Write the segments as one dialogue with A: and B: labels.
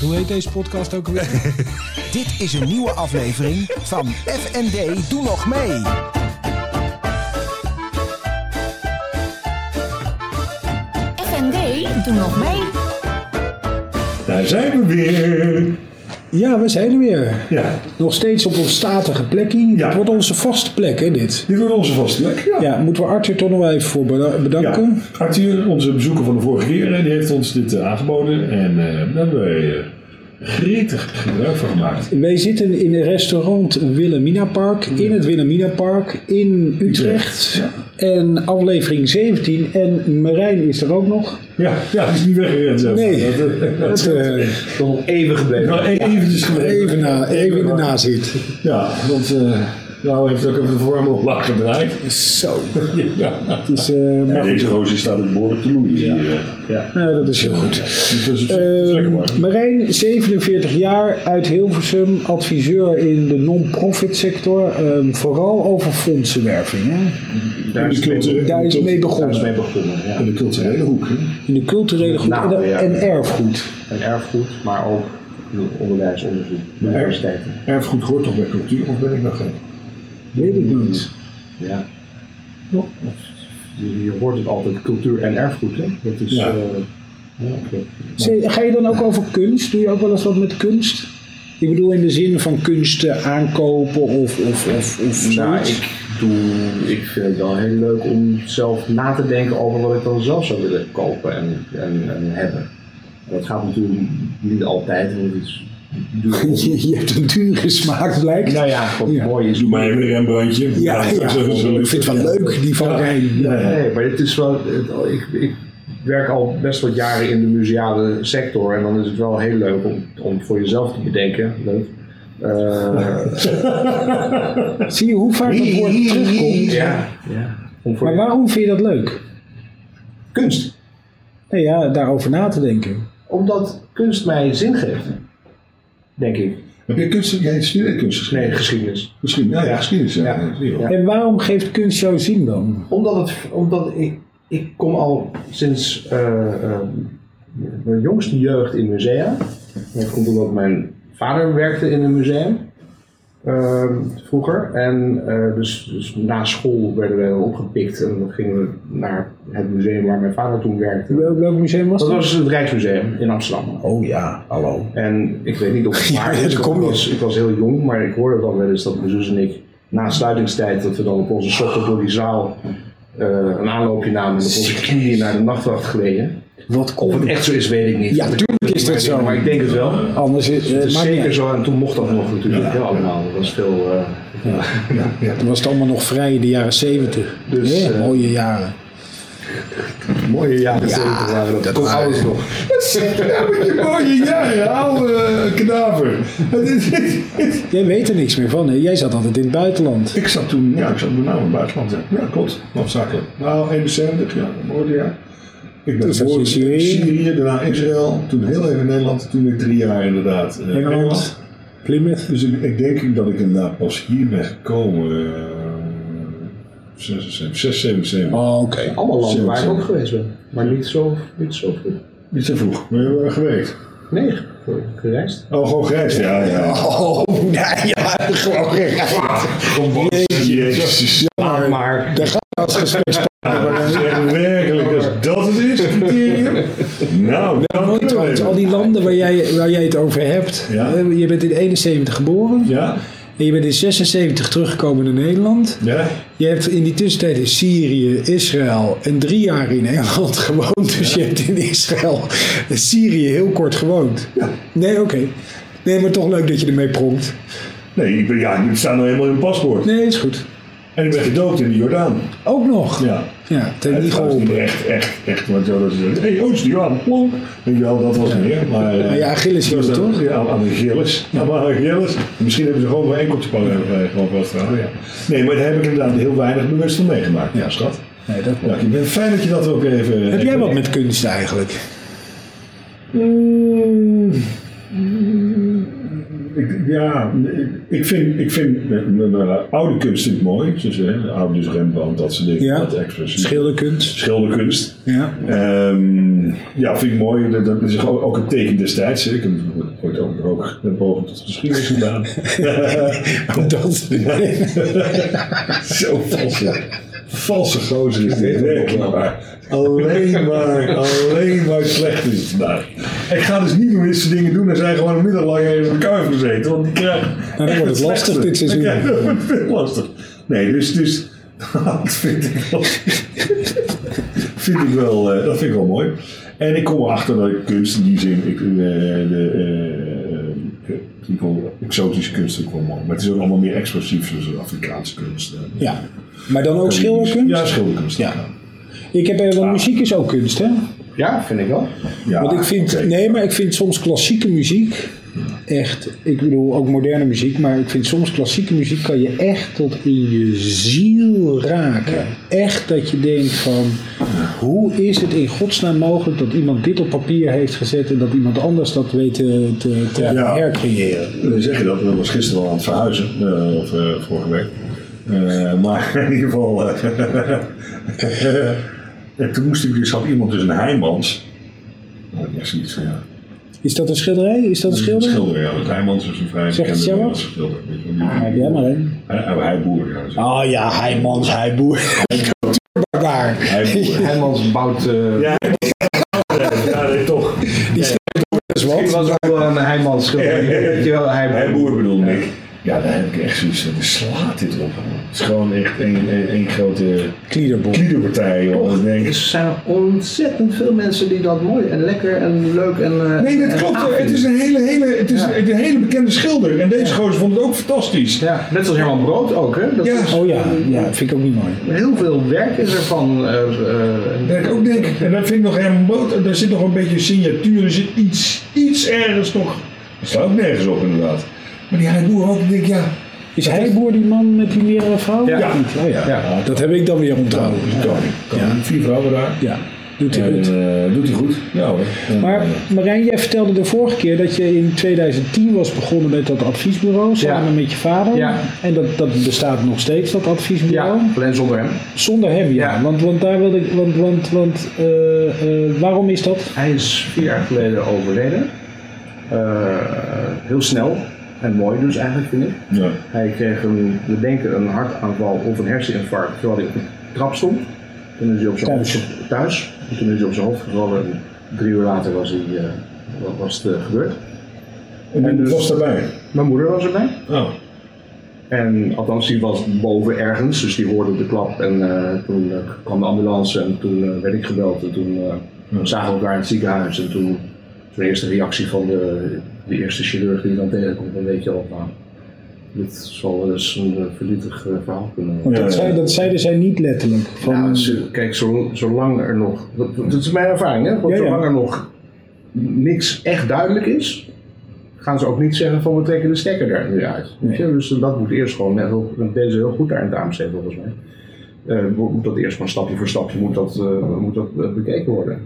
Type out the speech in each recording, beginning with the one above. A: Hoe heet deze podcast ook alweer?
B: Dit is een nieuwe aflevering van FND Doe Nog Mee.
C: FND, doe nog mee.
D: Daar zijn we weer.
A: ja, we zijn er weer.
D: Ja,
A: Nog steeds op ons statige plekje.
D: Ja.
A: Het wordt onze vaste plek, hè, dit.
D: dit wordt onze vaste plek. Ja.
A: Ja, moeten we Arthur toch nog wel even voor beda-
D: Ja.
A: bedanken.
D: Arthur, onze bezoeker van de vorige keer, eh, die heeft ons dit eh, aangeboden. En eh, daar hebben wij eh, gretig gebruik van gemaakt.
A: Wij zitten in een restaurant Wilhelmina Park, in het Wilhelmina Park in Utrecht.
D: Utrecht,
A: En aflevering 17. En Marijn is er ook nog.
D: Ja, ja het is niet weggerend. Zo.
A: Nee,
D: Dat, eh, dat
A: dat,
D: is
A: eh, Nou,
E: nog even gebleven.
D: wel e- eventjes geleden.
A: even, na, even in de nazit.
D: Ja, want eh nou heeft ook even de vorm op lach gedraaid.
A: Zo.
D: Ja.
A: Het is, eh, maar goed.
D: deze gozer staat het behoorlijk te loeien. eh, Ja. Ja.
A: Nou, dat is heel goed.
D: Dus
A: Ehm,
D: het is lekker warm.
A: Eh, Marijn, 47 jaar, uit Hilversum, adviseur in de non-profit sector, eh, vooral over fondsenwerving. Hè?
D: Daar is het mee-
A: Daar is mee begonnen.
E: Mee begonnen, ja.
D: In de culturele hoek. hè.
A: In de culturele goed
E: Nou,
A: en, de-
E: ja.
A: en erfgoed.
E: En erfgoed, maar ook onderwijs, onderzoek, universiteiten.
D: Erfgoed hoort toch bij cultuur, of ben ik nou nog geen?
A: Weet ik niet.
E: Ja. Je, je hoort het altijd, cultuur en erfgoed, hè? Dat is...
D: Ja.
E: eh, ja, oké.
A: Zee- Ga je dan ook over kunst? Doe je ook wel eens wat met kunst? Ik bedoel in de zin van kunsten aankopen of, of, of, of
E: Nou,
A: zoiets.
E: ik, doe, ik vind het wel heel leuk om zelf na te denken over wat ik dan zelf zou willen kopen en, en, en hebben. Dat gaat natuurlijk niet altijd, want het is duur.
A: je, je hebt een dure smaak, blijkt.
E: nou ja, wat
A: Ja.
E: mooi is.
D: Doe maar even een Rembrandtje.
A: Ja, ja, ik vind het wel leuk, die van Rijn.
E: Nee, maar het is wel. het- ik, ik werk al best wat jaren in de museale sector. En dan is het wel heel leuk om, om voor jezelf te bedenken. Leuk. Eh,
A: Zie je hoe vaak dat woord terugkomt?
E: ja, ja. Om voor
A: Maar waarom vind je dat leuk?
E: kunst.
A: Nee, ja, daarover na te denken.
E: Omdat kunst mij zin geeft. Denk ik.
D: Heb je kunst, jij studeert kunstgeschiedenis?
E: Nee, geschiedenis.
D: Misschien, ja, ja, geschiedenis. Ja. Ja. zie je wel.
E: Ja.
A: En waarom geeft kunst jou zin dan?
E: Omdat, het, omdat ik, ik kom al sinds eh, eh, mijn jongste jeugd in musea. Dat komt omdat mijn vader werkte in een museum eh, vroeger. En eh, dus, dus na school werden we opgepikt en dan gingen we naar het museum waar mijn vader toen werkte.
A: Wel- Welk museum was
E: Dat
A: dat?
E: was het Rijksmuseum in Amsterdam.
A: Oh ja, hallo.
E: En ik weet niet of het waar
A: Ja,
E: is.
A: dat
E: want
A: komt
E: ik, was, ik was heel jong, maar ik hoorde dan wel eens dat mijn zus en ik na sluitingstijd, dat we dan op onze sokken door die zaal eh, een aanloopje namen en op onze knieën naar de nachtwacht gleden.
A: Wat
E: Of het
A: komt?
E: echt zo is, weet ik niet.
A: Ja, tuurlijk is dat zo.
E: Maar ik denk het wel.
A: Anders is eh,
E: Het is
A: maar
E: zeker zo, en toen mocht dat nog natuurlijk wel allemaal. Dat was veel... eh,
A: Toen was het allemaal nog vrij in de jaren zeventig.
E: Dus,
A: Hè,
E: eh,
A: mooie jaren.
E: mooie jaren zeventig waren dat. komt alles nog.
D: Mooie jaren, oude eh, knaver.
A: Jij weet er niks meer van, hè? Jij zat altijd in het buitenland.
D: ik zat toen, ja, ik zat met name in het buitenland. Ja, ja klopt, hoofdzakelijk. Nou, 71, ja, mooi jaar. Ik ben
A: Dus dat
D: geboren in
A: is Syrië.
D: Syrië. daarna Israël, toen heel even Nederland, toen weer drie jaar inderdaad. eh,
A: Engeland. Plymouth.
D: Dus ik, ik denk dat ik inderdaad pas hier ben gekomen. eh, 76, 6, 7, 7.
A: Oh, oké.
E: Allemaal landen waar ik
D: Zeker.
E: ook geweest ben. Maar niet zo, niet zo vroeg.
D: Niet zo vroeg, maar je hebt wel gewerkt.
E: Nee, gereisd.
D: Oh, gewoon grijs, ja, ja.
A: Oh, nee, ja, gewoon gerecht.
D: Jezus.
E: Maar, maar
A: Als gesprek.
D: Zeg werkelijk, als dat het is, criterium. Nou, dan
A: Mooi
D: kunnen we
A: trouwens,
D: het.
A: al die landen waar jij, waar jij het over hebt.
D: Ja.
A: hè, Je bent in 71 geboren.
D: Ja,
A: En je bent in 76 teruggekomen naar Nederland.
D: ja.
A: Je hebt in die tussentijd in Syrië, Israël en drie jaar in Engeland gewoond. Dus je hebt in Israël en Syrië heel kort gewoond. Nee, oké. Nee, maar toch leuk dat je ermee pronkt.
D: Nee, ik ben, ja, ik sta nou helemaal in mijn paspoort.
A: Nee, is goed.
D: En ik ben gedoopt in de Jordaan.
A: Ook nog.
D: Ja.
A: Ja, het heeft
D: Het
A: niet
D: was
A: geholpen.
D: niet echt, echt, echt. Want zo dat ze zeggen, hé, hey, oost, Jordaan, plonk. Weet je wel, dat was meer. Maar, eh,
A: Maar je Achilles
D: dat was
A: hield,
D: dan-
A: toch?
D: Ja, aan de Achilles. Ja, maar aan de Achilles. Misschien hebben ze gewoon mijn enkeltje pakken. Gewoon wel staan, ja. Nee, maar daar heb ik inderdaad heel weinig bewust van meegemaakt. Ja, schat.
A: Nee, dat
D: Ja, ik ben fijn dat je dat ook even...
A: Heb jij wat met kunst
D: Mm.
A: eigenlijk?
D: ik, ja, ik, ik vind, ik vind de, de- de oude kunst vind ik mooi. Dus, hè, de oude dus Rembrandt, dat soort dingen.
A: Ja.
D: Dat expressief.
A: Schilderkunst.
D: Schilderkunst.
A: Ja.
D: Ehm, ja, vind ik mooi. Dat, dat is ook ook een teken destijds. hè. Ik heb ooit ook, ook een poging tot geschiedenis gedaan.
A: Dat.
D: Zo valse. Valse gozer is dit. Werkelijk waar. Alleen maar, alleen maar slecht is het vandaag. Ik ga dus niet meer dit soort dingen doen. Dan zijn gewoon een middellang even in elkaar gezeten. Want die krijgen.
A: wordt
D: echt
A: het lastig
D: slechtste.
A: dit seizoen.
D: Ja, dat wordt veel lastig. Nee, dus. dus dat vind ik wel. vind ik wel eh, dat vind ik wel mooi. En ik kom erachter dat ik kunst in die zin. Ik, eh, de, eh, eh, ik wil exotische kunst ook wel mooi. Maar het is ook allemaal meer expressief, zoals Afrikaanse kunst. eh.
A: Ja. Maar dan ook schilderkunst?
D: Ja, schilderkunst.
A: Ja. Ik heb, eh, want muziek is ook kunst, hè?
E: Ja, vind ik wel.
D: Ja,
A: Want ik vind,
D: oké.
A: nee, maar ik vind soms klassieke muziek echt, ik bedoel ook moderne muziek, maar ik vind soms klassieke muziek kan je echt tot in je ziel raken. Echt dat je denkt van, hoe is het in godsnaam mogelijk dat iemand dit op papier heeft gezet en dat iemand anders dat weet te, te, te
D: Ja.
A: hercreëren.
D: Dan zeg je dat, dat was gisteren al aan het verhuizen, eh, of eh, vorige week. Eh, maar in ieder geval. eh, en toen moest ik dus, had iemand dus een Heijmans. Nou, Dat is niet zo, ja.
A: Is dat een schilderij? Is dat een schilder?
D: Schilder, ja. Want Heijmans is een vrij
A: Zeg het
D: bekende
A: jou
D: Nederlandse
A: wat?
D: schilder. Weet je wel,
A: Ah, Heb
D: die-
A: jij maar één.
D: Hij- hij- Heijboer, ja. zo.
A: Oh ja, heimans, heiboer. Daar.
D: Heijboer.
E: Heijmans bouwt. eh
D: Ja, ja, nee, toch.
A: Dat is
E: Ik
A: wat.
E: was ook wel eh, een Heijmans schilder. Weet je wel, Heijmans.
D: Heijboer bedoelde ik. Ja, daar heb ik echt zoiets van, slaat dit op. Het is gewoon echt één- één één grote
A: Kliederbom.
D: kliederpartij. joh. Dan denk ik,
E: Er zijn ontzettend veel mensen die dat mooi en lekker en leuk en. eh,
D: Nee, dat
E: en
D: klopt.
E: gaaf
D: Het is
E: vinden.
D: een hele, hele, het is
E: Ja.
D: een hele bekende schilder. En deze gozer vond het ook fantastisch.
E: Ja, net zoals Herman Brood ook, hè? Dat
D: Ja.
E: is-
A: Oh ja, ja, vind ik ook niet mooi.
E: Heel veel werk is ervan. eh eh,
D: Dat ik ook denk, en dat vind ik nog helemaal brood. Daar zit nog een beetje signatuur, er zit iets, iets ergens nog. Dat staat ook nergens op inderdaad. Maar die Heiboer ook, ik denk ja.
A: Is Heiboer die man met die meerdere vrouwen?
E: Ja.
A: Of niet? Oh, ja.
E: Ja.
A: Dat heb ik dan weer
D: Oh,
A: onthouden.
D: Kan, kan. Vier vrouwen daar.
A: Ja, doet hij
D: En,
A: goed.
D: eh, doet hij goed. Ja hoor. En,
A: Maar
D: eh,
A: Marijn, jij vertelde de vorige keer dat je in 2010 was begonnen met dat adviesbureau samen met je vader.
E: Ja.
A: En dat, dat bestaat nog steeds, dat adviesbureau.
E: ja, alleen zonder hem.
A: Zonder hem, ja.
E: Ja.
A: Want, want daar wilde ik. Want, want, want eh, eh, waarom is dat?
E: Hij is vier jaar geleden overleden. Eh, heel snel en mooi, dus eigenlijk vind ik.
D: ja.
E: Hij kreeg een, we denken een hartaanval of een herseninfarct terwijl hij op de trap stond. Toen is hij op zijn
A: Thuis.
E: hoofd thuis. En Toen is hij op zijn hoofd gevallen en drie uur later was, hij, eh, wa- was het eh, gebeurd.
D: En,
E: En
D: en
E: dus-
D: was daarbij.
E: Mijn moeder was erbij.
D: Oh.
E: En althans, die was boven ergens, dus die hoorde de klap. En eh, toen eh, kwam de ambulance en toen eh, werd ik gebeld. En toen eh, zagen we elkaar in het ziekenhuis. En toen de eerste reactie van de, de eerste chirurg die je dan tegenkomt, dan weet je al, nou, dit zal wel eens een eh, verdrietig eh, verhaal kunnen worden.
A: Want
D: Ja,
A: dat,
D: ja.
A: zei, dat zeiden zij niet letterlijk. Van,
E: Nou, ze- kijk, zo- zolang er nog, dat, dat is mijn ervaring, hè? Want
A: Ja, ja.
E: zolang er nog niks echt duidelijk is, gaan ze ook niet zeggen van we trekken de stekker daar nu uit. Weet je? Dus dat moet eerst gewoon, net heel, deze heel goed daar in het AMC volgens mij, Eh, moet dat eerst gewoon stapje voor stapje moet dat, eh, moet dat eh, bekeken worden.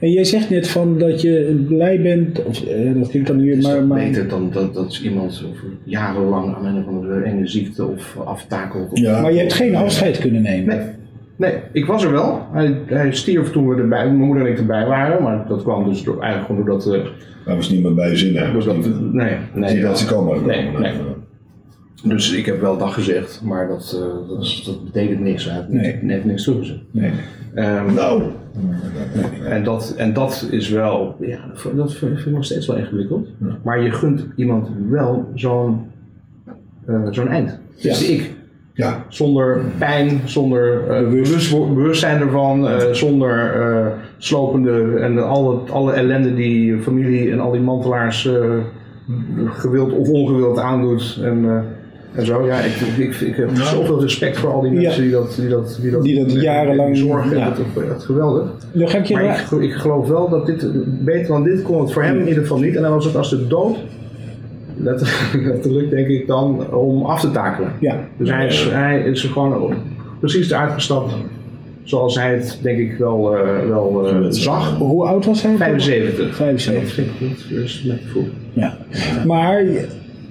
A: En jij zegt net van dat je blij bent. Of, eh, dat klinkt dan nu.
E: Is
A: Maar,
E: dat
A: maar,
E: beter dan dat, dat iemand over jarenlang aan een of andere enge ziekte of aftakelt? Of
A: maar je hebt geen afscheid kunnen nemen.
E: Nee. Nee, ik was er wel. Hij, hij stierf toen we erbij, mijn moeder en ik erbij waren, maar dat kwam dus door, eigenlijk gewoon doordat... eh,
D: Daar was niemand bij zin. Hij was
E: doordat
D: niet
E: nee,
D: niet dat ze
E: nee.
D: komen.
E: Nee, nee. Dus ik heb wel dag gezegd, maar dat, eh, dat, is- dat betekent niks. Hij heeft
A: Nee.
E: net, net niks toegezegd. Ehm,
D: Nou.
E: en, dat, en dat is wel, ja, dat vind ik nog steeds wel ingewikkeld. Maar je gunt iemand wel zo'n eh, zo'n eind. Dus ik,
D: Ja.
E: zonder pijn, zonder eh, bewust- bewustzijn ervan, eh, zonder eh, slopende en alle, alle ellende die je familie en al die mantelaars eh, gewild of ongewild aandoet. En, eh, en zo, ja, ik, ik, ik heb zoveel respect voor al die mensen die dat, die dat, die dat,
A: Die dat jarenlang-
E: zorgen.
A: ja.
E: Dat, dat, geweldig.
A: Dan ga ik je
E: Maar ik,
A: ra-
E: ge- ik geloof wel dat dit, beter dan dit kon het voor hem in ieder geval niet. En dan was het als de dood, letter- letterlijk denk ik dan, om af te takelen.
A: Ja.
E: Dus hij is, hij is er gewoon op- precies eruit gestapt zoals hij het denk ik wel, eh, wel eh, zag.
A: Hoe oud was hij?
E: 75.
A: 75.
E: Dat is net voor.
A: Ja. Maar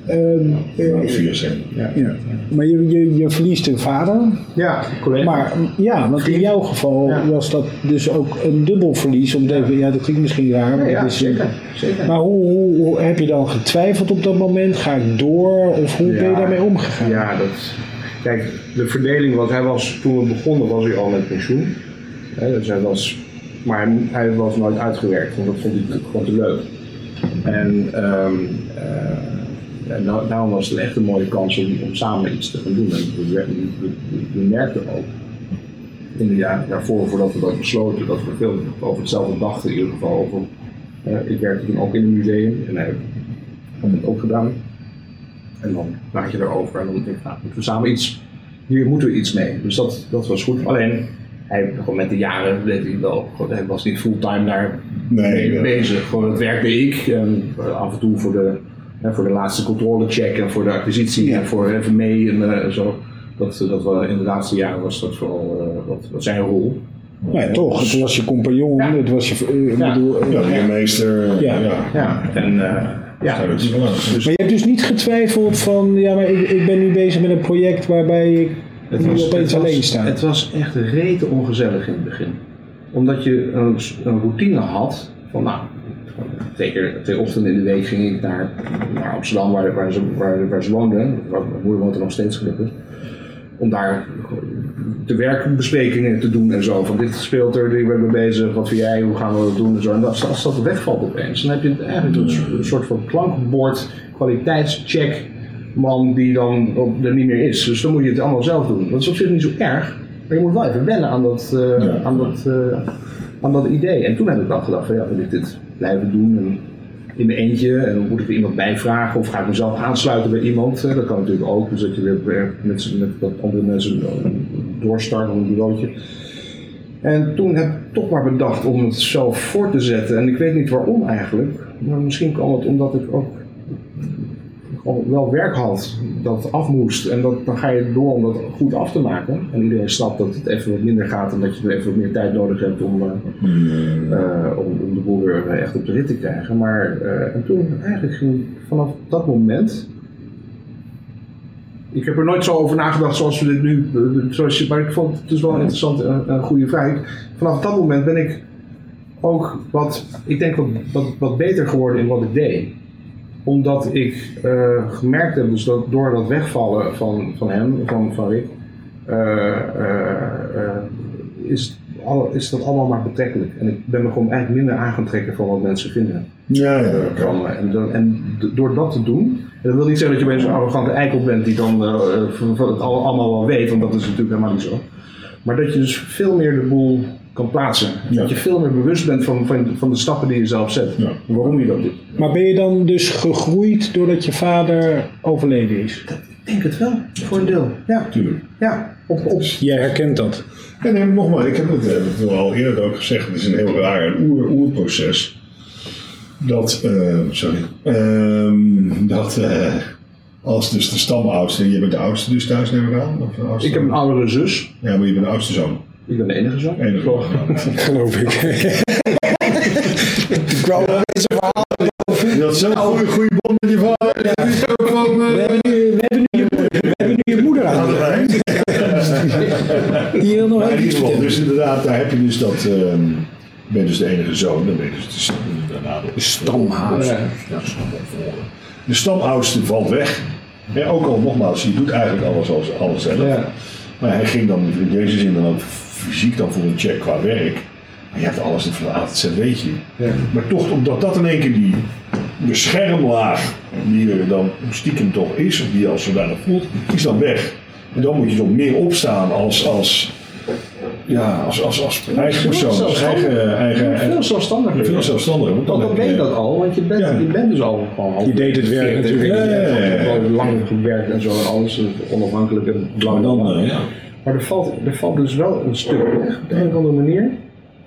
A: Ehm, eh,
D: Nou, vier zijn.
E: Ja,
A: ja. Maar je, je, je verliest een vader.
E: ja collega.
A: Maar ja, want in jouw geval
E: Ja.
A: was dat dus ook een dubbel verlies. Omdat, we- ja, dat klinkt misschien raar.
E: ja,
A: Maar,
E: ja,
A: dat is- eh,
E: zeker, zeker.
A: maar hoe, hoe, hoe- heb je dan getwijfeld op dat moment? Ga ik door? Of hoe ben je
E: Ja.
A: daarmee omgegaan?
E: Ja, dat. Kijk, de verdeling, want hij was toen we begonnen, was hij al met pensioen. Hè, dus hij was, maar hij, hij was nooit uitgewerkt, want dat vond ik natuurlijk gewoon te leuk. En ehm, eh, en nou, daarom was het echt een mooie kans om, om samen iets te gaan doen. En we, we, we- we merkten ook in de jaren daarvoor, voordat we dat besloten, dat we veel over hetzelfde dachten in ieder geval. Over, hè, ik werkte toen ook in een museum en hij had het ook gedaan. En dan praat je erover en dan denk ik, nou, moeten we samen iets, hier moeten we iets mee. Dus dat, dat was goed. Alleen, hij, gewoon met de jaren deed hij wel, gewoon, hij was niet fulltime daar
D: Nee,
E: mee
D: ja.
E: bezig. Gewoon dat werkte ik en eh, af en toe voor de, hè, voor de laatste controlecheck en voor de acquisitie en voor even mee en eh, zo. Dat, dat we, in de laatste jaren was dat vooral eh, wat, wat zijn rol.
A: Nou ja, toch. Het was je compagnon.
E: Ja.
A: Het was je... eh, ik
E: Ja.
A: bedoel, eh,
D: Ja, leermeester.
A: Ja.
D: Ja. ja.
E: Ja, en eh, ja,
D: dat is wel leuk.
A: Maar je hebt dus niet getwijfeld van... Ja, maar ik, ik ben nu bezig met een project waarbij ik nu opeens alleen sta.
E: Het was echt rete ongezellig in het begin. Omdat je een, een routine had van nou, zeker twee ochtenden in de week ging ik naar, naar Amsterdam waar, waar, ze, waar, waar ze woonden. Waar- Mijn moeder woont er nog steeds gelukkig. Om daar de werkbesprekingen te doen en zo. Van dit speelt er, die ben ik mee bezig, wat vind jij, hoe gaan we dat doen en zo. En als, als dat wegvalt opeens, dan heb je eigenlijk een, soort- een soort van klankbord, kwaliteitscheck man die dan op- er niet meer is. Dus dan moet je het allemaal zelf doen. Dat is op zich niet zo erg, maar je moet wel even wennen aan dat, eh,
D: Ja.
E: aan dat, eh, aan dat idee. En toen heb ik wel gedacht van ja, wil ik dit blijven doen en in mijn eentje en moet ik er iemand bij vragen of ga ik mezelf aansluiten bij iemand. Eh, Dat kan natuurlijk ook, dus dat je weer eh, met, z'n- met wat andere mensen eh, doorstart op een bureautje. En toen heb ik toch maar bedacht om het zelf voor te zetten. En ik weet niet waarom eigenlijk. Maar misschien kwam het omdat ik ook gewoon wel werk had dat af moest. En dat, dan ga je door om dat goed af te maken. En iedereen snapt dat het even wat minder gaat en dat je er even wat meer tijd nodig hebt om, eh, eh, om, om de boel weer eh, echt op de rit te krijgen. Maar eh, en toen eigenlijk ging vanaf dat moment. Ik heb er nooit zo over nagedacht zoals we dit nu. eh, Zoals je, maar ik vond het dus wel een interessante en een goede vraag. Ik- Vanaf dat moment ben ik ook wat, ik denk wat, wat, wat beter geworden in wat ik deed omdat ik eh, gemerkt heb, dus dat door dat wegvallen van, van hem, van, van Rick, eh, eh, eh, is, alle, is dat allemaal maar betrekkelijk. En ik ben me gewoon eigenlijk minder aan gaan trekken van wat mensen vinden
D: Ja, ja, dat kan.
E: van me. En, dan- en d- door dat te doen, en dat wil niet zeggen dat je opeens een arrogante eikel bent die dan eh, eh, van- van het al- allemaal wel weet, want dat is natuurlijk helemaal niet zo. Maar dat je dus veel meer de boel kan plaatsen.
D: Ja.
E: Dat je veel meer bewust bent van, van, van de stappen die je zelf zet.
D: Ja.
E: En Waarom je dat doet.
A: Maar ben je dan dus gegroeid doordat je vader overleden is?
E: Ik denk het wel, voor een deel. Ja,
D: Tuurlijk.
E: ja. Op, op.
A: Jij herkent dat.
D: En nee, nogmaals, ik heb het, eh, het al eerder ook gezegd, het is een heel raar en oer, oerproces. Dat, eh, sorry, Ehm, dat eh, als dus de stamoudste, en je bent de oudste dus thuis neem ik aan? Of de oudste?
E: Ik heb een oudere zus.
D: Ja, maar je bent de oudste zoon.
E: Ik ben de enige zoon.
D: Enige zoon.
A: Geloof ik. Ik wou-
D: Je had zo'n
E: Nou,
D: goede, goede bond met je vader. Ja.
A: We hebben nu- we hebben nu je moeder- we hebben nu je moeder aan. de lijn. Die wil nog
D: Maar in
A: even
D: ieder
A: iets
D: geval,
A: vertellen.
D: dus inderdaad, daar heb je dus dat, ehm, je bent dus de enige zoon, dan ben je dus de, stam- daarna de
A: stamhaas.
D: Ja, de stamopvolger. De stamoudste valt weg. Ja, ook al nogmaals, je doet eigenlijk alles, als, alles zelf.
E: Ja.
D: Maar hij ging dan in deze zin dan ook fysiek dan voor een check qua werk. Maar je hebt alles in van A tot Z, weet je. Maar toch, omdat dat in één keer die beschermlaag die er dan stiekem toch is, of die je als zodanig voelt, is dan weg. En dan moet je toch meer opstaan als, als, ja, als, als, als eigen persoon, als eigen, eigen,
E: Veel zelfstandiger.
D: Eh, veel zelfstandiger. Want dan
E: Want dan
D: heb
E: ben je dat al, want je bent,
D: Ja.
E: je bent dus al gewoon
A: Je deed het werk natuurlijk.
D: Ja, ja, ja, ja.
E: Gewoon lang gewerkt en zo en alles eh, onafhankelijk en
D: Maar
E: belangrijk.
D: dan, eh, ja.
E: Maar er valt, er valt dus wel een stuk weg op de een of andere manier.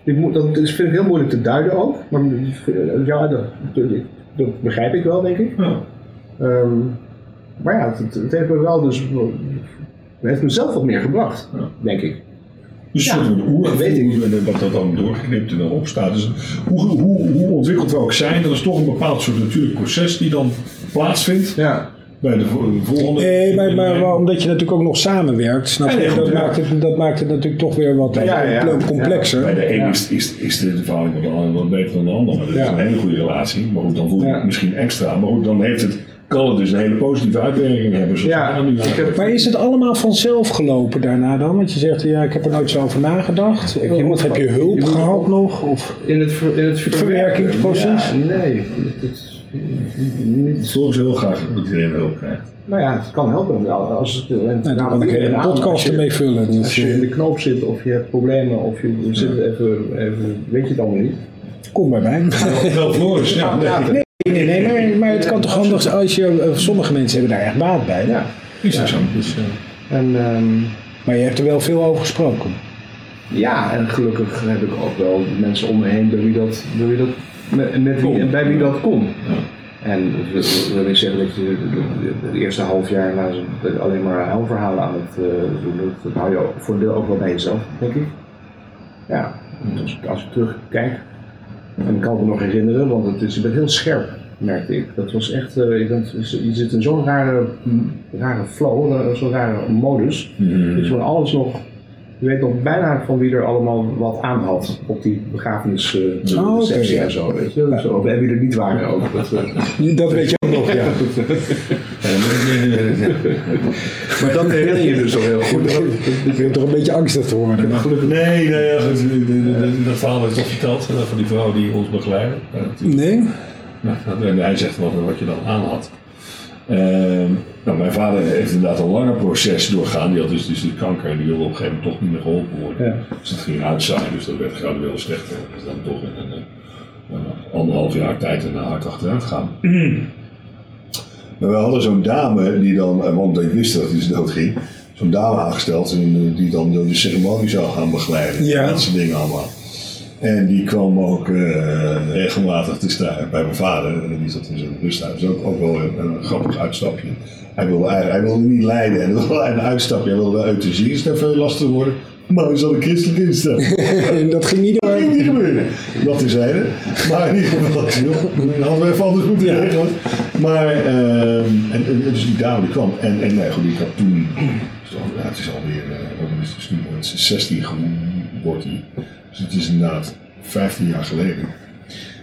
E: Dit moet, dat is, vind ik heel moeilijk te duiden ook. Maar eh, ja, dat, dat begrijp ik wel, denk ik.
D: Ja.
E: Ehm, maar ja, het, het heeft me wel dus. Het heeft mezelf wat meer gebracht,
D: Ja.
E: denk ik.
D: Dus
E: Ja,
D: een soort van oer,
E: dat weet ik.
D: en dat dat dan doorgeknipt en dan opstaat. Dus hoe, hoe, hoe ontwikkeld we ook zijn, dat is toch een bepaald soort natuurlijk proces die dan plaatsvindt.
E: Ja.
D: bij de vo- de volgende.
A: Nee, maar, maar, maar omdat je natuurlijk ook nog samenwerkt, snap
D: Ja,
A: je?
D: nee, goed,
A: dat,
D: ja.
A: maakt het, dat maakt het natuurlijk toch weer wat
E: Ja, ja, ja.
A: complexer.
D: Bij de een is, is, is de verhouding van de ander wat beter dan de ander. Maar dat is
A: Ja.
D: een hele goede relatie. Maar goed, dan voel je
A: Ja.
D: het misschien extra. Maar goed, dan heeft het, kan het dus een hele positieve uitwerking hebben. zoals
E: Ja,
D: we dat nu
E: ik
D: hebben.
E: heb-
A: Maar is het allemaal vanzelf gelopen daarna dan? Want je zegt, ja, ik heb er nooit zo over nagedacht.
E: Je moet
A: of heb je
E: gewoon-
A: hulp
E: je moet
A: gehad
E: gewoon-
A: nog? Of?
E: In het, ver- in het
A: verwerkingsproces?
E: Ja, nee. Het is niet,
D: Soms heel graag dat iedereen hulp krijgt.
E: nou ja, het kan helpen. Ja, Als het, eh, en,
A: Nou, daar kan ik een
E: als
A: podcast
E: je-
A: ermee vullen. Dus,
E: Als je in
A: eh,
E: de knoop zit of je hebt problemen of je zit even, even, weet je het allemaal niet.
A: kom bij mij.
D: Wel, Floris, ja. nee.
E: Praten.
A: Nee, nee, maar, maar het kan toch handig zijn als je... eh, Sommige mensen hebben daar echt baat bij.
E: Ja.
D: Is dat zo?
A: Dus, eh,
E: En, ehm,
A: maar je hebt er wel veel over gesproken.
E: ja, en gelukkig heb ik ook wel mensen om me heen bij wie dat, bij wie dat, met, met wie,
D: Kon.
E: bij wie dat kon. En dat wil ik zeggen dat je het eerste half jaar na zo'n- alleen maar helmverhalen aan het eh, doen doet. Dat hou je ook voor een deel ook wel bij jezelf, denk ik. Ja, dus als ik terugkijk. En ik kan het me nog herinneren, want het is, je bent heel scherp, merkte ik. Dat was echt, eh, je, bent, je zit in zo'n rare, mm, rare flow, eh, zo'n rare modus.
A: Mhm.
E: Dat je van alles nog, je weet nog bijna van wie er allemaal wat aan had op die begrafenis, eh
A: Oh, oké,
E: receptie
A: ja.
E: en zo. Weet je? Zo, en wie er niet waren ook. Dat, eh,
A: Dat weet je ook nog, ja.
E: Maar dat herinner je dus al heel goed.
A: Ik wil toch een beetje angstig te worden. maar-
D: Nee, nee, ja, goed, de- de- de- dat verhaal is toch verteld eh, van die vrouw die ons begeleidde. Ja, natuurlijk.
A: Nee?
D: En hij zegt wat, wat je dan aan had. Ehm, nou, mijn vader heeft inderdaad een langer proces doorgaan. Die had dus, dus de kanker en die wilde op een gegeven moment toch niet meer geholpen worden.
A: Ja.
D: Dus dat ging uitzaaien, dus dat werd gradueel slechter. Dus dan toch in een, eh, een anderhalf jaar tijd en hard achteruit gaan. Maar we hadden zo'n dame die dan, eh, want ik wist dat hij ze dood ging, zo'n dame aangesteld en, eh, die dan de ceremonie zou gaan begeleiden.
A: Ja.
D: Dat soort dingen allemaal. En die kwam ook eh, regelmatig te staan bij mijn vader. En die zat in zo'n rusthuis. Dat is ook, ook wel een, een grappig uitstapje. Hij wilde, eigenlijk- hij wilde niet lijden. Hij wilde een uitstapje. Hij wilde uit de ziekenhuis veel lastig worden. Maar hij zat een christelijk instelling.
A: En dat ging niet
D: Dat
A: door.
D: ging niet gebeuren. Dat is zijde. Maar in ieder geval, dat hadden we even anders moeten regelen. Maar, ehm, en, en, en dus die dame die kwam. En, en nou goed, die had toen, het is al- ja, het is alweer, eh, wat is het, het is nu wordt ze 16 geworden, wordt die. Dus het is inderdaad 15 jaar geleden.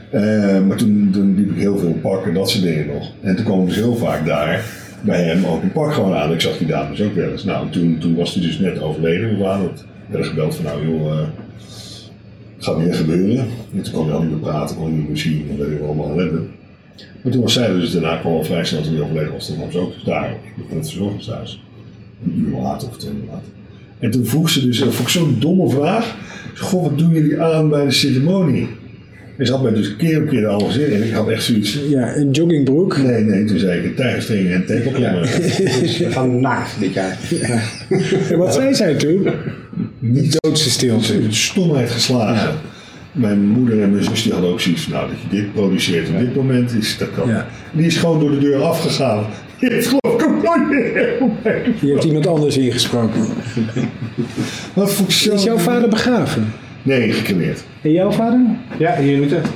D: Eh, maar toen, toen liep ik heel veel parken en dat soort dingen nog. En toen kwam ik dus heel vaak daar bij hem ook een park gewoon aan. Ik zag die dames ook wel eens. Nou, toen, toen was hij dus net overleden. We waren het, werden gebeld van nou joh, eh, gaat weer gebeuren. En toen kon hij al niet meer praten, kon hij niet meer zien, dat weet ik allemaal hebben. Maar toen was zij er dus daarna kwam al vrij snel toen hij overleden was, toen kwam ze ook dus daar in het verzorgingshuis. Een uur later of twee uur later. En toen vroeg ze dus, dat vond ik zo'n domme vraag. Ze, Goh, wat doen jullie aan bij de ceremonie? En ze had mij dus keer op keer al gezegd en ik had echt zoiets.
A: Ja, een joggingbroek.
D: Nee, nee, toen zei ik een tijgerstring en tekelklemmen.
E: We gaan naakt dit jaar.
A: En wat zei zij toen?
D: Niet
A: Doodse stilte.
D: met stomheid geslagen. Mijn moeder en mijn zus die hadden ook zoiets van, nou dat je dit produceert op dit moment, is, dat kan.
A: Ja.
D: Die is gewoon door de deur afgegaan. Die heeft geloof ik ook nooit meer opgemerkt.
A: Je hebt iemand anders ingesproken.
D: Wat voor zo-
A: Is jouw vader begraven?
D: Nee, gecremeerd.
A: En jouw vader?
E: Ja, hier in Utrecht.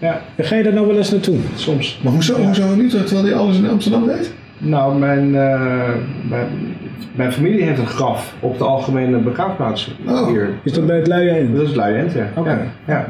E: Ja,
A: En Ga je daar nou wel eens naartoe?
E: soms.
D: Maar hoezo, hoezo niet, terwijl hij alles in Amsterdam deed?
E: Nou, mijn, eh, mijn, mijn familie heeft een graf op de algemene begraafplaats
D: Oh.
E: hier.
A: Is dat bij het luie eind?
E: Dat is Luijend, ja.
A: Oké.
E: Ja, ja.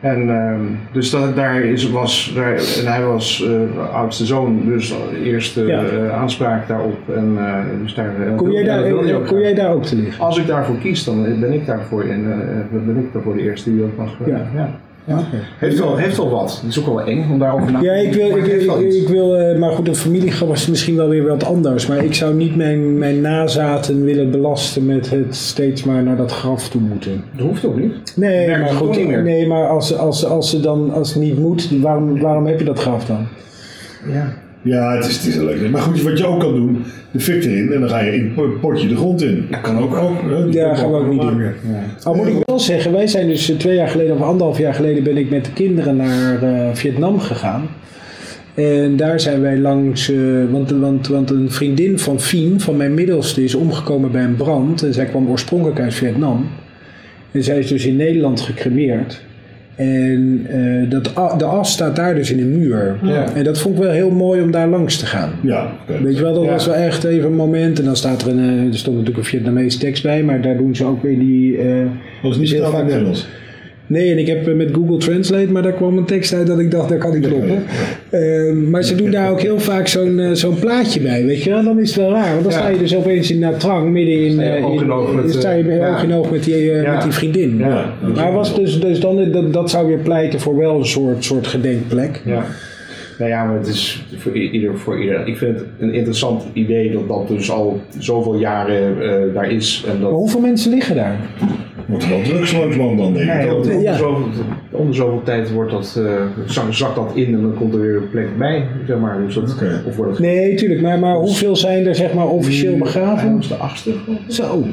E: En ehm, dus dat, daar is, was, daar, en hij was eh, oudste zoon, dus eerste
A: Ja.
E: eh, aanspraak daarop. En, eh, dus daar, eh,
A: Kom
E: wil-
A: jij
E: ja,
A: daar,
E: dat wil je ook
A: kom
E: graag.
A: jij daar ook te liggen?
E: Als ik daarvoor kies, dan ben ik daarvoor, in, eh, ben ik daarvoor de eerste die dat mag. eh,
A: Ja.
E: ja.
A: Oké.
E: Heeft wel, heeft wel wat. Het is ook wel eng om daarover na te
A: Ja, ik wil,
E: maar
A: ik,
E: het heeft wel
A: ik,
E: iets.
A: ik wil eh, maar goed, een familiegraf is misschien wel weer wat anders. Maar ik zou niet mijn, mijn nazaten willen belasten met het steeds maar naar dat graf toe moeten.
E: Dat hoeft ook niet.
A: Nee,
E: Werkt
A: maar
E: het
A: goed,
E: toch niet meer?
A: nee, maar als, als, als ze dan als het niet moet, waarom, waarom heb je dat graf dan?
E: Ja.
D: Ja, het is, het is een leuk. Maar goed, wat je ook kan doen, de fik erin en dan ga je in een potje de grond in. Dat kan ook. ook hè, die
A: Ja,
D: kan
A: gaan we ook niet doen.
D: maken.
A: Al moet ik wel zeggen, wij zijn dus eh, twee jaar geleden of anderhalf jaar geleden ben ik met de kinderen naar eh, Vietnam gegaan. En daar zijn wij langs, eh, want, want, want een vriendin van Fien, van mijn middelste, is omgekomen bij een brand. En zij kwam oorspronkelijk uit Vietnam. En zij is dus in Nederland gecremeerd. En eh, dat, a- de as staat daar dus in een muur.
E: Ja.
A: En dat vond ik wel heel mooi om daar langs te gaan.
D: Ja, oké.
A: Weet je wel, dat
E: Ja.
A: was wel echt even een moment. En dan staat er een, eh, er stond natuurlijk een Vietnamese tekst bij, maar daar doen ze ook weer die... eh,
D: Dat is niet
A: heel
D: heel vaak
A: vaak-
D: Nederlands.
A: Nee, en ik heb eh, met Google Translate, maar daar kwam een tekst uit dat ik dacht, daar kan ik kloppen. Eh, maar ze doen daar ook heel vaak zo'n eh, zo'n plaatje bij, weet je wel. Dan is het wel raar, want dan
E: Ja.
A: sta je dus opeens in Nha Trang, midden in...
E: je
A: eh,
E: oog in oog met, eh,
A: sta je
E: ja.
A: oog in oog met die, eh,
E: Ja.
A: met die vriendin.
E: Ja.
D: Ja.
A: Maar was dus, dus dan, dat, dat zou weer pleiten voor wel een soort, soort gedenkplek.
E: Ja. Nou ja, maar het is voor i- ieder voor ieder. Ik vind het een interessant idee dat dat dus al zoveel jaren eh, daar is. En dat,
A: Maar hoeveel mensen liggen daar?
D: Wordt wel drugs langs man dan, denk ik.
E: Nee, want
D: Dat-
E: om,
A: Ja.
E: zoveel, om de zoveel tijd wordt dat, eh, zak- zakt dat in en dan komt er weer een plek bij, zeg maar. Dus dat,
D: Oké.
E: Of wordt het
A: Nee, tuurlijk, maar, maar hoeveel zijn er zeg maar officieel begraven?
E: de achtste.
A: Zo.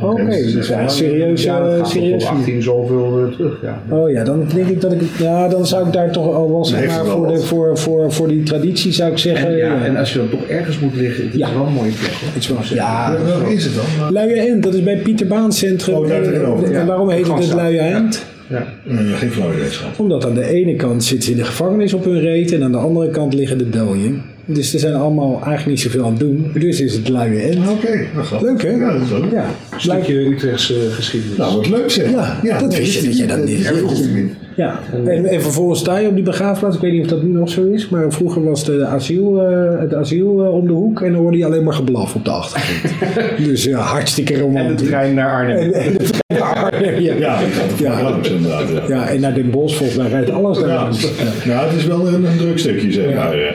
A: Oké,
D: dus
A: dus
D: echt wel-
A: ja, serieus.
E: Ja, dat
A: eh,
E: gaat
A: serieus.
E: op 18 zoveel eh, terug, ja.
A: Oh ja, dan denk ik dat ik. Ja, dan zou ik daar toch al wel zeg
D: Nee,
A: maar
D: heeft wel
A: voor, de,
D: wat.
A: voor, voor, voor die traditie zou ik zeggen.
E: En, ja,
A: ja,
E: en als je dan toch ergens moet liggen, het is
A: Ja.
E: wel een mooie plek. hè.
A: iets van- ja.
D: Ja, Welke is het dan? Maar-
A: Luie End, dat is bij Pieter Baan Centrum.
D: Oh, daar tegenover,
A: en
E: ja.
A: waarom heet het het
E: Gangstraat.
A: Luie End?
E: Ja.
D: Nee, Geen flauw idee, schat.
A: Omdat aan de ene kant zitten ze in de gevangenis op hun reet en aan de andere kant liggen de doden. Dus er zijn allemaal eigenlijk niet zoveel aan het doen. Dus is het luie end.
D: Oké, dat gaat.
A: Leuk hè?
D: Ja, dat is leuk.
A: Ja,
E: Een stukje Utrechtse geschiedenis.
D: Nou, wat leuk zeg.
A: Ja, dat
D: nee,
A: wist je dat je dat niet
D: erg
A: wist.
D: goed in.
A: ja. En, en vervolgens sta je op die begraafplaats. Ik weet niet of dat nu nog zo is, maar vroeger was de asiel, eh, het asiel eh, om de hoek en dan hoorde je alleen maar geblaf op de achtergrond. dus ja, hartstikke
E: En de
A: romantisch.
E: trein naar Arnhem.
A: ja.
D: Ja, ik had het
A: Ja.
D: ja. langs inderdaad. Ja.
A: Ja, en naar Den Bosch volgens mij rijdt alles daar
D: Ja.
A: langs. Ja.
D: Nou, het is wel een, een druk stukje, zeg maar. Ja.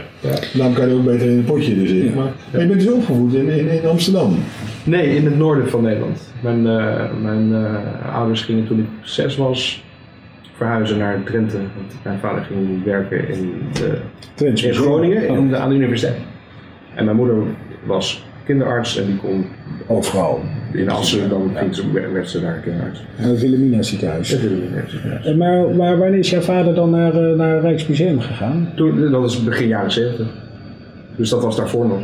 D: Daarom kan je ook beter in een potje er zitten. Maar, maar je bent dus opgevoed in, in, in Amsterdam.
E: Nee, in het noorden van Nederland. Mijn, eh, mijn eh, ouders gingen toen ik zes was verhuizen naar Drenthe. Want mijn vader ging werken in, de-
A: Twents Oh.
E: in
A: misschien.
E: Groningen in de- aan de universiteit. En mijn moeder was kinderarts en die kon
A: Overal.
E: in Assen, dan ging ze, werd ze daar kinderarts.
A: Het Eh, Wilhelmina ziekenhuis.
E: Dat wilde ik niet.
A: Eh, Maar, maar wanneer is jouw vader dan naar, eh, naar het Rijksmuseum gegaan?
E: Toen, dat is begin jaren zeventig. Dus dat was daarvoor nog.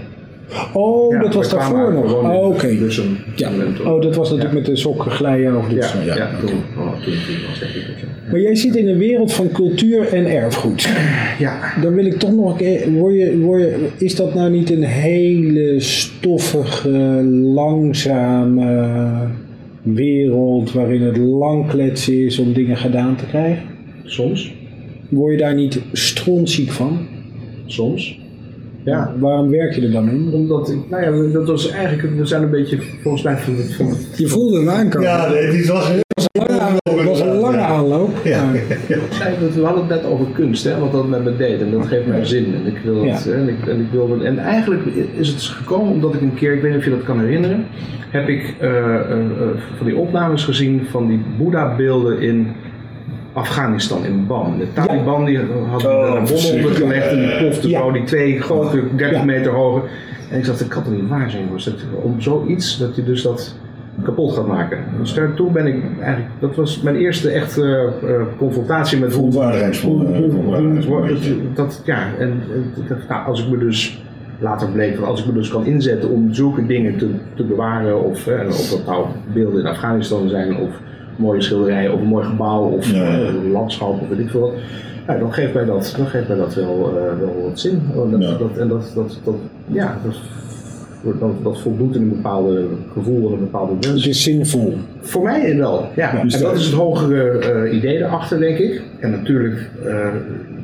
A: Oh,
E: Ja,
A: dat was
E: we kwamen Dus
A: daarvoor nog.
E: gewoon in
A: Oh, Oké.
E: Bussum.
A: Ja.
E: En toen-
A: Oh, dat was natuurlijk met de sokken glijden over dit
E: Ja,
A: soort-
E: ja,
A: oké.
E: toen, oh, toen, toen was denk ik dat, ja.
A: Maar jij zit in een wereld van cultuur en erfgoed.
E: Ja,
A: Dan wil ik toch nog een keer, word je, word je, is dat nou niet een hele stoffige, langzame wereld waarin het lang kletsen is om dingen gedaan te krijgen?
E: soms.
A: Word je daar niet strontziek van?
E: Soms. Ja.
A: Waarom werk je er dan in?
E: Omdat, ik- nou ja, we- dat was eigenlijk, we zijn een beetje volgens mij van het. Van,
A: Je voelde hem aankomen.
D: Ja, nee, die was heel
A: Het was een lange aanloop.
D: Ja.
A: maar-
E: we hadden het net over kunst, hè, wat dat met me deed. En dat geeft mij zin. En, ik wil dat,
A: Ja.
E: hè, en, ik, en, ik wil dat- en eigenlijk is het dus gekomen omdat ik een keer, ik weet niet of je dat kan herinneren, heb ik eh, eh, eh, van die opnames gezien van die Boeddha-beelden in. Afghanistan in Bam. De Taliban die hadden
D: Oh,
E: daar een bom
D: verschrikkelijk.
E: ondergelegd en die plofte
A: Ja.
E: zo, die twee grote 30
A: Ja.
E: meter hoge. En ik dacht, dat kan toch niet waar zijn, jongens. Dat, om zoiets dat je dus dat kapot gaat maken. Dus daar, toen ben ik eigenlijk, dat was mijn eerste echte eh, eh, confrontatie met hoe,
D: Verontwaardigingsvol, eh,
E: hoe- hoe-
D: verontwaardigingsmomentje.
E: dat- dat, ja, en eh, dat- nou, als ik me dus later bleek, van als ik me dus kan inzetten om zulke dingen te, te bewaren, of, eh, of dat nou beelden in Afghanistan zijn, of mooie schilderijen, of een mooi gebouw, of
D: Ja, ja.
E: eh, een landschap, of weet ik veel wat. Nou, dan geeft mij dat, dan geeft mij dat wel, eh, wel wat zin. Oh, Dat,
D: Ja.
E: dat, en dat, dat, dat, ja, dat, dat, dat voldoet in een bepaalde gevoel en een bepaalde wens.
A: Het is zinvol.
E: Voor mij wel, ja.
D: dus
E: en dat
D: dat-
E: is het hogere eh, idee erachter, denk ik. En natuurlijk, eh,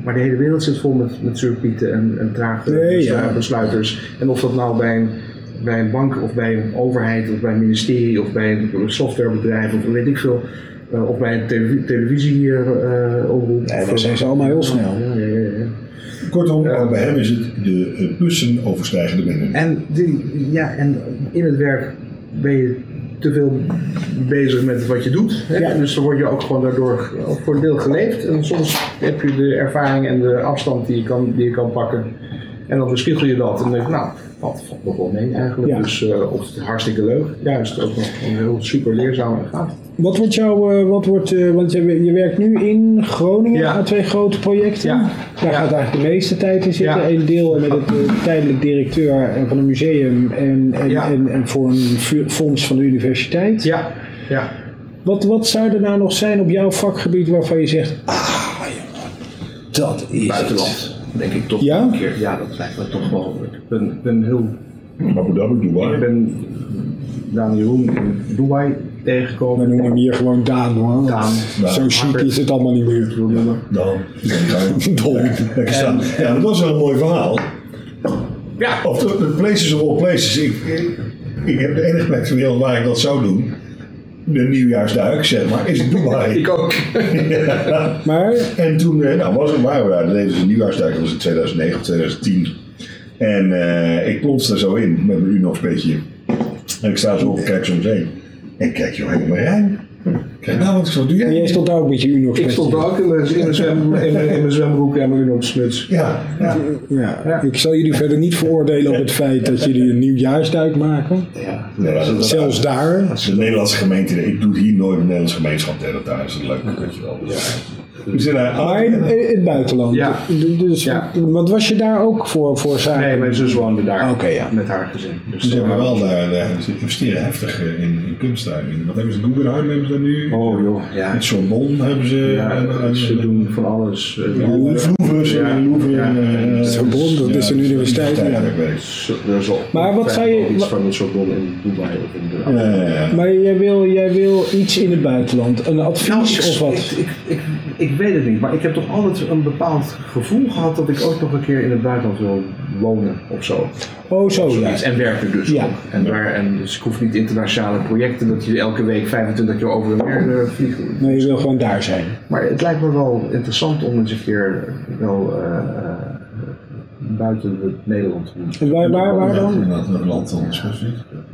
E: maar de hele wereld zit vol met, met surpieten en, en trage
A: Nee,
E: beslu-
A: ja.
E: besluiters. En of dat nou bij een, bij een bank of bij een overheid of bij een ministerie of bij een softwarebedrijf of weet ik veel. eh, of bij een televi- televisie eh eh, omroep.
A: Nee, daar
E: Of-
A: zijn ze allemaal heel snel.
E: Ja, ja, ja, ja.
D: Kortom, ook bij hem is het de eh, bussen overstijgende binnen.
E: En, die, ja, en in het werk ben je te veel bezig met wat je doet. Hè?
A: Ja.
E: Dus dan word je ook gewoon daardoor ook voor een deel geleefd. En soms heb je de ervaring en de afstand die je kan, die je kan pakken. En dan bespiegel je dat en denk je, nou, wat valt nog wel mee eigenlijk.
A: Ja.
E: Dus eh, of het hartstikke leuk. Juist, ook nog een heel super leerzaam en gaaf.
A: Wat wordt jouw, eh, wat wordt, eh, want je, je werkt nu in Groningen
E: Ja.
A: aan twee grote projecten.
E: Ja.
A: Daar
E: Ja.
A: gaat eigenlijk de meeste tijd in zitten.
E: Ja.
A: Eén deel met het eh, tijdelijk directeur eh, van een museum en, en,
E: Ja.
A: en, en voor een vu- fonds van de universiteit.
E: Ja, ja.
A: Wat, wat zou er nou nog zijn op jouw vakgebied waarvan je zegt... Ah, jongen, dat is het.
E: Buitenland, denk ik toch
A: Ja?
E: een keer. Ja, dat lijkt me toch wel. Ik ben, ben heel.
D: Abu Dhabi, Dubai.
E: Ik ben Daan Jeroen in Dubai
A: We
E: tegengekomen.
A: noemen hem hier gewoon Daan, hoor.
E: Daan.
A: Zo chic
E: Makker.
A: is het allemaal niet meer.
E: Ja.
D: Dan. Dan.
A: Dom.
D: Lekker staan. Nou, Ja, dat was wel een mooi verhaal.
E: Ja.
D: Of de, de places of all places. Ik, ik, ik heb de enige plek ter wereld waar ik dat zou doen. De nieuwjaarsduik, zeg maar, is Dubai.
E: Ik ook.
A: Maar
D: En toen eh, nou, was, waren we daar, dat deden ze een nieuwjaarsduik, dat was in 2009 of 2010. En eh, ik plons daar zo in, met mijn nog beetje. En ik sta zo op en kijk zo meteen. En ik kijk, joh, helemaal rein. Ik Kijk, nou, wat, wat doe jij?
A: jij stond daar ook met je Unox
E: Ik stond daar ook in mijn, in mijn, zwem, in mijn, in mijn zwembroek en mijn Unox smuts.
D: Ja, ja.
A: Ja, ik zal jullie verder niet veroordelen op het feit dat jullie een nieuwjaarsduik maken.
E: Ja.
D: Nee, dat is-
A: Zelfs daar.
D: De Nederlandse gemeente, ik doe het hier nooit een Nederlandse gemeenschap delen thuis. Dat is leuk, weet je wel. Dus- We zijn daar
A: Maar in, in het buitenland.
E: Ja.
A: D- Dus,
E: Ja.
A: Want was je daar ook voor, voor zaken?
E: Nee, mijn zus woonde daar.
A: Oké, ja.
E: Met haar gezin. Dus
D: Ze
E: eh,
D: hebben wel daar, daar- ze investeren heftig eh, in, in kunst daar. In- Wat hebben ze? Guggenheim hebben ze daar nu.
E: Oh joh, ja.
D: Het Sorbonne hebben ze. eh, en-
E: ja
D: en-
E: eh, ze doen van alles. eh,
D: en- Louvre, ze hebben Louvre.
E: Ja.
D: eh,
A: Sorbonne, dat
D: ja,
A: is een universiteit, ja.
D: eigenlijk, weet ik.
E: Zo- Er is al
A: Maar wat zou je-
E: iets van een soort bom in Dubai of in de
D: Ja, ja, ja.
A: Maar jij wil, jij wil iets in het buitenland, een advies
E: Nou, ik,
A: of
E: Ik,
A: wat?
E: ik, ik, ik weet het niet, maar ik heb toch altijd een bepaald gevoel gehad dat ik ook nog een keer in het buitenland wil wonen of zo.
A: Oh, zo ja.
E: Zoiets. En werken dus
A: Ja.
E: ook. En, daar, en dus ik hoef niet internationale projecten dat je elke week 25 keer over en weer
A: Oh,
E: eh, vliegt.
A: Nee, je wil gewoon daar zijn.
E: Maar het lijkt me wel interessant om eens een keer wel eh, eh, buiten het Nederland te doen.
A: En waar, waar, waar
D: Ja,
A: dan?
D: inderdaad, een land dan.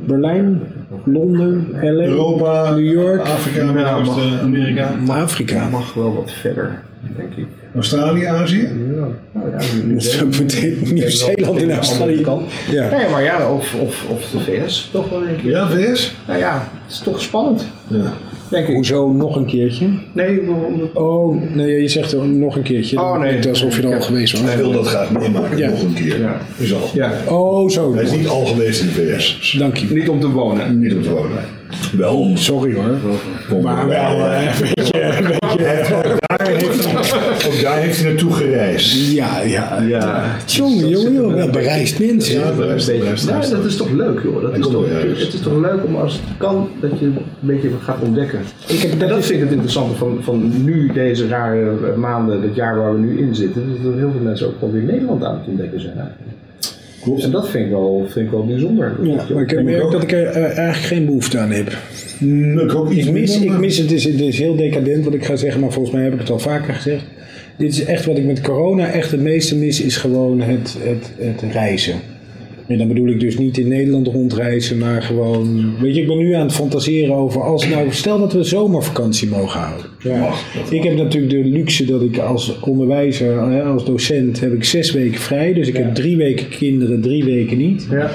A: Berlijn, Londen, LA,
D: Europa,
A: New York,
D: Afrika,
E: Ja, mag.
D: Amerika,
A: Afrika.
E: Mag wel wat verder, denk ik.
D: Australië, Azië.
E: Ja, nou ja, nu- nu-
A: Dat is ook meteen Nieuw-Zeeland en Australië. Ja.
E: Nee, maar ja, of, of, of de VS toch wel een keer.
D: Ja, VS.
E: Nou ja, het is toch spannend,
D: Ja.
E: denk ik.
A: Hoezo nog een keertje?
E: Nee, ik bedoel-
A: Oh, nee, je zegt nog een keertje.
E: Oh, nee.
A: Niet alsof je er al geweest was.
D: Hij wil dat graag meemaken
A: Ja.
D: nog een keer.
E: Ja.
D: Is al.
E: ja,
A: Oh, zo.
D: Hij is niet al geweest in de VS.
A: Dank je.
E: niet om te wonen.
D: Niet om te wonen. Wel om
A: Sorry hoor.
D: Om-
A: Maar
D: wel,
A: wel,
D: eh,
A: eh, weet je, weet je.
D: Hij heeft- ook daar heeft hij- Ook daar heeft hij naartoe gereisd.
A: Ja, ja.
E: Ja.
A: Jongen, jongen, jongen, wel bereisd mensen.
D: Ja, daar is- daar is- daar
E: Ja,
D: is-
E: dat is toch leuk, joh. Dat is
D: komt
E: toch,
D: wel ergens.
E: het is toch leuk om als het kan dat je een beetje wat gaat ontdekken. Ik heb, dat vind ik het interessante van, van nu, deze rare eh, maanden, het jaar waar we nu in zitten. Dat er heel veel mensen ook wel weer Nederland aan het ontdekken zijn. eigenlijk. En dat vind ik wel, vind ik wel bijzonder.
A: Ja, maar ik merk dat ik er eh, eigenlijk geen behoefte aan heb.
D: Mm, Ik ook iets
A: Ik mis,
D: minder,
A: ik
D: maar-
A: mis het, is, het is heel decadent wat ik ga zeggen, maar volgens mij heb ik het al vaker gezegd. Dit is echt wat ik met corona echt het meeste mis, is gewoon het, het, het reizen. En dan bedoel ik dus niet in Nederland rondreizen, maar gewoon... Weet je, ik ben nu aan het fantaseren over als... Nou, stel dat we zomervakantie mogen houden. Ja. ik heb natuurlijk de luxe dat ik als onderwijzer, eh, als docent, heb ik zes weken vrij. Dus ik heb drie weken kinderen, drie weken niet.
E: Ja.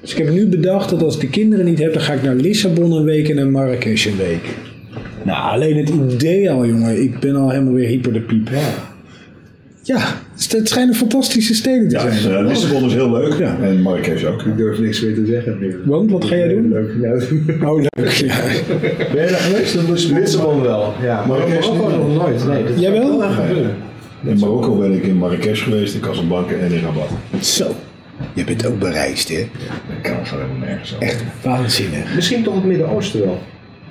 A: Dus ik heb nu bedacht dat als ik de kinderen niet heb, dan ga ik naar Lissabon een week en naar Marrakesh een week. Nou, alleen het idee al, jongen. Ik ben al helemaal weer hyper de piep. Ja, het schijnen fantastische steden te
D: Ja,
A: zijn.
D: eh, Lissabon is heel leuk.
A: Ja.
D: En Marrakesh ook.
E: Ik durf niks meer te zeggen.
A: Want, wat ga jij doen?
E: Leuk. Ja.
A: Oh, leuk. Ja.
D: Ben je daar geweest? In Lissabon?
E: Lissabon wel, ja. Maar
D: Marrakesh
E: Marokko
D: niet.
E: nog nooit. Nee, dat
A: Oh. Jij
E: zou
A: wel?
E: ik aan gebeuren.
D: In Marokko ben ik in Marrakesh geweest, in Casablanca en in Rabat.
A: Zo. Je bent ook bereisd, hè?
D: Ik kan gewoon helemaal nergens over.
A: Echt waanzinnig.
E: Misschien toch het Midden-Oosten wel.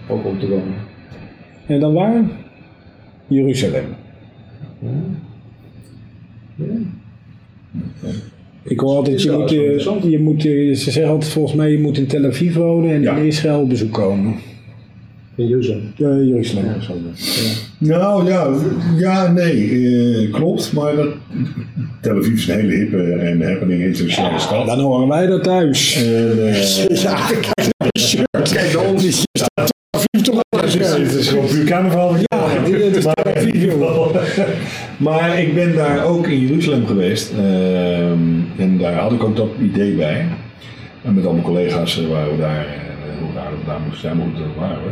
E: Ook om te wonen.
A: En dan waar? Jeruzalem. Ik hoor altijd,
E: Is
A: je
E: wel
A: moet,
E: eens wel
A: eh,
E: interessant.
A: je moet, eh, ze zeggen altijd volgens mij, je moet in Tel Aviv wonen en
D: Ja.
A: in Israël op bezoek komen.
E: In Jeruzalem.
A: Eh, Jeruzalem. Ja.
D: Nou ja, ja nee, eh, klopt. Maar dat, Tel Aviv is een hele hippe en happening internationale stad.
A: Dan horen wij dat thuis.
D: En, eh,
A: Ja, kijk naar je shirt. Kijk naar ons. Je staat Tel Aviv toch op je
D: Het is,
A: shirt.
D: het is gewoon puur carnaval.
A: Ja, dit is Tel
D: maar, in
A: Aviv,
D: ieder
A: joh.
D: geval. maar ik ben daar ook in Jeruzalem geweest. ehm, en daar had ik ook dat idee bij. En met al mijn collega's eh, waren we daar. eh, Hoe raar dat we daar moesten zijn, maar goed, dat waren we.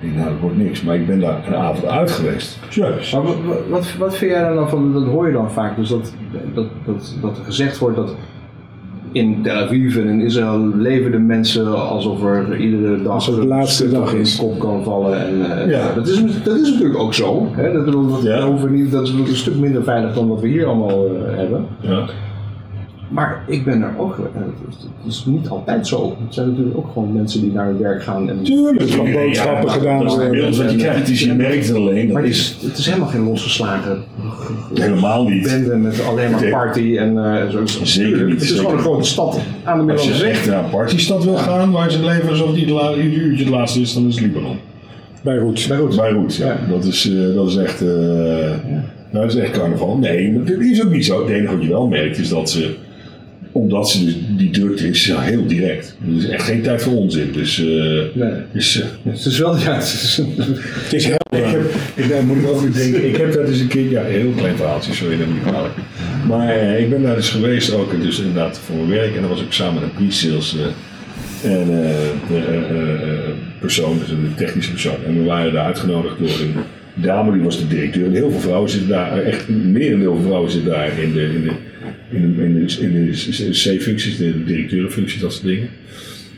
D: Ik dacht, nou, dat wordt niks. Maar ik ben daar een avond uit geweest. Jezus.
E: Maar wa- wa- wat, wat vind jij daar dan van, dat hoor je dan vaak, dus dat, dat, dat, dat er gezegd wordt dat in Tel Aviv en in Israël leven de mensen alsof er iedere dag
A: Alsof het
E: een
A: de laatste
E: stuk
A: dag
E: in
A: is.
E: de kop kan vallen. En, eh,
D: Ja.
E: dat, is, dat is natuurlijk ook zo. Hè? Dat, bedoel, dat,
D: Ja.
E: hoeven we niet, dat is een stuk minder veilig dan wat we hier allemaal eh, hebben.
D: Ja.
E: Maar ik ben er ook, eh, het is, het is niet altijd zo. Het zijn natuurlijk ook gewoon mensen die naar hun werk gaan. En,
A: Tuurlijk van boodschappen
D: Ja,
A: gedaan
D: dat is het
A: worden.
D: beeld wat je krijgt, is je merkt het alleen.
E: maar
D: Dat
E: het
D: is
E: is, het is helemaal geen losgeslagen
D: helemaal niet.
E: bende met alleen maar
D: Nee.
E: party en eh, zo.
D: Zeker niet,
E: Het is gewoon
D: zeker
E: een grote stad aan de
D: Als
E: Middellandse
D: je
E: Zee.
D: echt naar een partystad wil gaan waar ze leven alsof het ieder la- ieder uurtje het laatste is, dan is het Libanon.
A: Bij Roets.
D: Beirut. ja. Dat, is, eh, dat is echt. eh, nou, dat is echt carnaval. Nee, maar dat is ook niet zo. Het enige wat je wel merkt is dat ze. Omdat ze dus die drukte is, ja, heel direct. Er is echt geen tijd voor onzin. Dus. eh, dus eh,
E: Het is wel, ja, het is een-
A: Het is heel
D: ik heb, ik, daar moet ik ook weer denken. Ik heb dat eens een keer, ja, een heel klein verhaaltje, sorry dat niet kwalijk. Maar eh, ik ben daar dus geweest ook, eh, dus inderdaad voor mijn werk. En dan was ik samen met een pre-sales eh, en, eh, de, eh, eh, eh, persoon, dus een technische persoon. En we waren daar uitgenodigd door een dame, die was de directeur. En heel veel vrouwen zitten daar, eh, echt meer dan heel veel vrouwen zitten daar in de, in de, in de, in de, in de C-functies, de directeurenfuncties, dat soort dingen.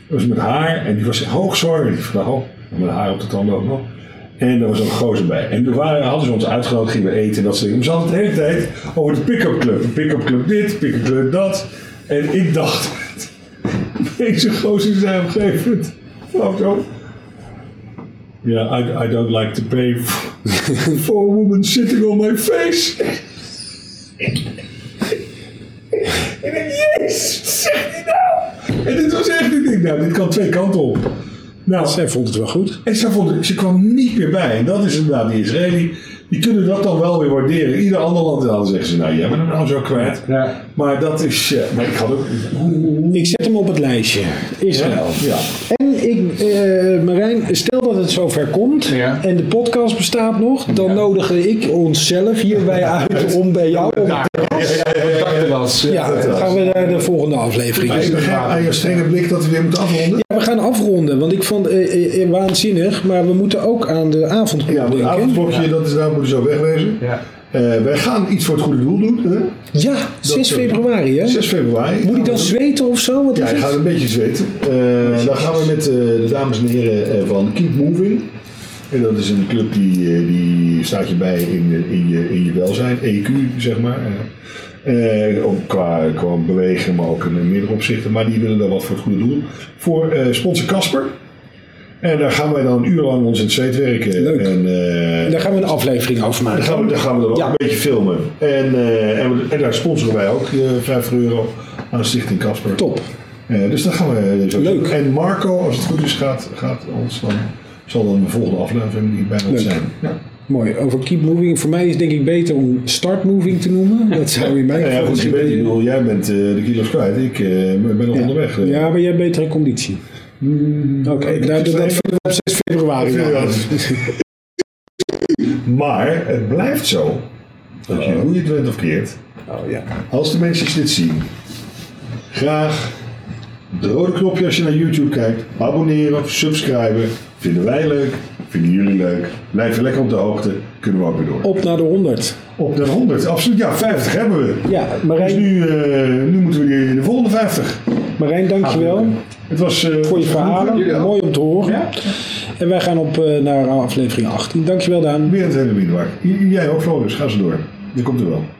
D: Dat was met haar en die was hoogzwanger, die vrouw. En Met haar op de tanden ook nog. En er was ook een gozer bij. En we waren, hadden ze ons uitgenodigd, gingen we eten en dat soort dingen. Maar ze hadden het de hele tijd over de pick-up club. De Pick-up club dit, pick-up club dat. En ik dacht, deze gozer zei "Oh, op een gegeven moment, vrouw zo. Ja, I, I don't like to pay for, for a woman sitting on my face. En ik denk, jezus, wat zegt hij nou? En dit was echt, ik denk, nou, dit kan twee kanten op. Nou,
A: Zij vond het wel goed.
D: en ze, vond, ze kwam niet meer bij. En dat is inderdaad die Israëli. Die kunnen dat dan wel weer waarderen. Ieder ander land dan zeggen ze, nou jij bent hem nou zo kwijt.
E: Ja.
D: Maar dat is, eh, maar ik had ook...
A: Ik zet hem op het lijstje. Israël.
D: Ja.
A: En ik, eh, Marijn, stel dat het zover komt
E: Ja.
A: en de podcast bestaat nog, dan nodig ik onszelf hierbij uit om bij jou op
E: Ja,
D: Eh,
E: Dus dat was.
A: Ja, dan gaan we naar de volgende aflevering.
D: Ik begrijp aan je strenge blik dat we weer moeten afronden.
A: Ja, we gaan afronden, want ik vond het waanzinnig, maar we moeten ook aan de avondklok
D: Ja, het
A: denken.
D: avondblokje, dat is daar moeten we zo wegwezen.
E: Ja.
D: Eh, wij gaan iets voor het goede doel doen. Hè?
A: Ja, 6
D: eh,
A: februari hè?
D: 6 februari.
A: Moet ik dan zweten of zo? Wat
D: Ja,
A: is
D: je gaat
A: het?
D: een beetje zweten. Eh, dan gaan we met eh, de dames en heren eh, van Keep Moving. En dat is een club die, eh, die staat je bij in, eh, in, je, in je welzijn, EQ zeg maar. Eh, eh, ook qua, qua bewegen, maar ook in meerdere opzichten. Maar die willen daar wat voor het goede doel. Voor eh, sponsor Casper. En daar gaan wij dan een uur lang ons in het zweet werken.
A: Leuk.
D: En, eh,
A: Daar gaan we een aflevering over
D: dan
A: maken.
D: gaan we, dan gaan we er ook
A: Ja.
D: een beetje filmen. En, eh, en, we- en daar sponsoren wij ook eh 5 euro aan Stichting Casper.
A: Top.
D: Eh, dus dat gaan we zo
A: Leuk.
D: doen. En Marco, als het goed is, gaat, gaat ons dan, zal dan de volgende aflevering die bijna
A: Leuk.
D: zijn. Ja.
A: Mooi, over keep moving. Voor mij is het denk ik beter om start moving te noemen. Dat zou in mijn
D: Nou ja,
A: geval
D: goed, je
A: misschien
D: weet, ik
A: beter-
D: bedoel, jij bent eh, de kilo's kwijt, ik eh, ben nog onderweg. eh.
A: Ja, maar jij hebt betere conditie.
D: Mm-hmm.
A: Oké,
D: Oh,
A: nou, dat, dat vinden we op 6 februari.
D: Ja.
A: wel.
D: Maar het blijft zo, dat je, hoe je het went of keert,
A: Oh, ja.
D: als de mensen dit zien, graag het rode knopje als je naar YouTube kijkt, abonneren of subscriben, vinden wij leuk, vinden jullie leuk, blijven lekker op de hoogte, kunnen we ook weer door.
A: Op naar de 100.
D: Op de 100, absoluut. Ja, 50 hebben we.
A: Ja,
D: Dus
A: Marijn,
D: nu, eh, nu moeten we die- de volgende 50.
A: Marijn dankjewel
D: Het was eh,
A: voor je verhalen.
E: Jullie ook.
A: Mooi om te horen. En wij gaan op eh, naar aflevering 18. Dankjewel Daan.
D: Weer het hele biedwaar. Jij ook, Floris. Ga ze door. Je komt er wel.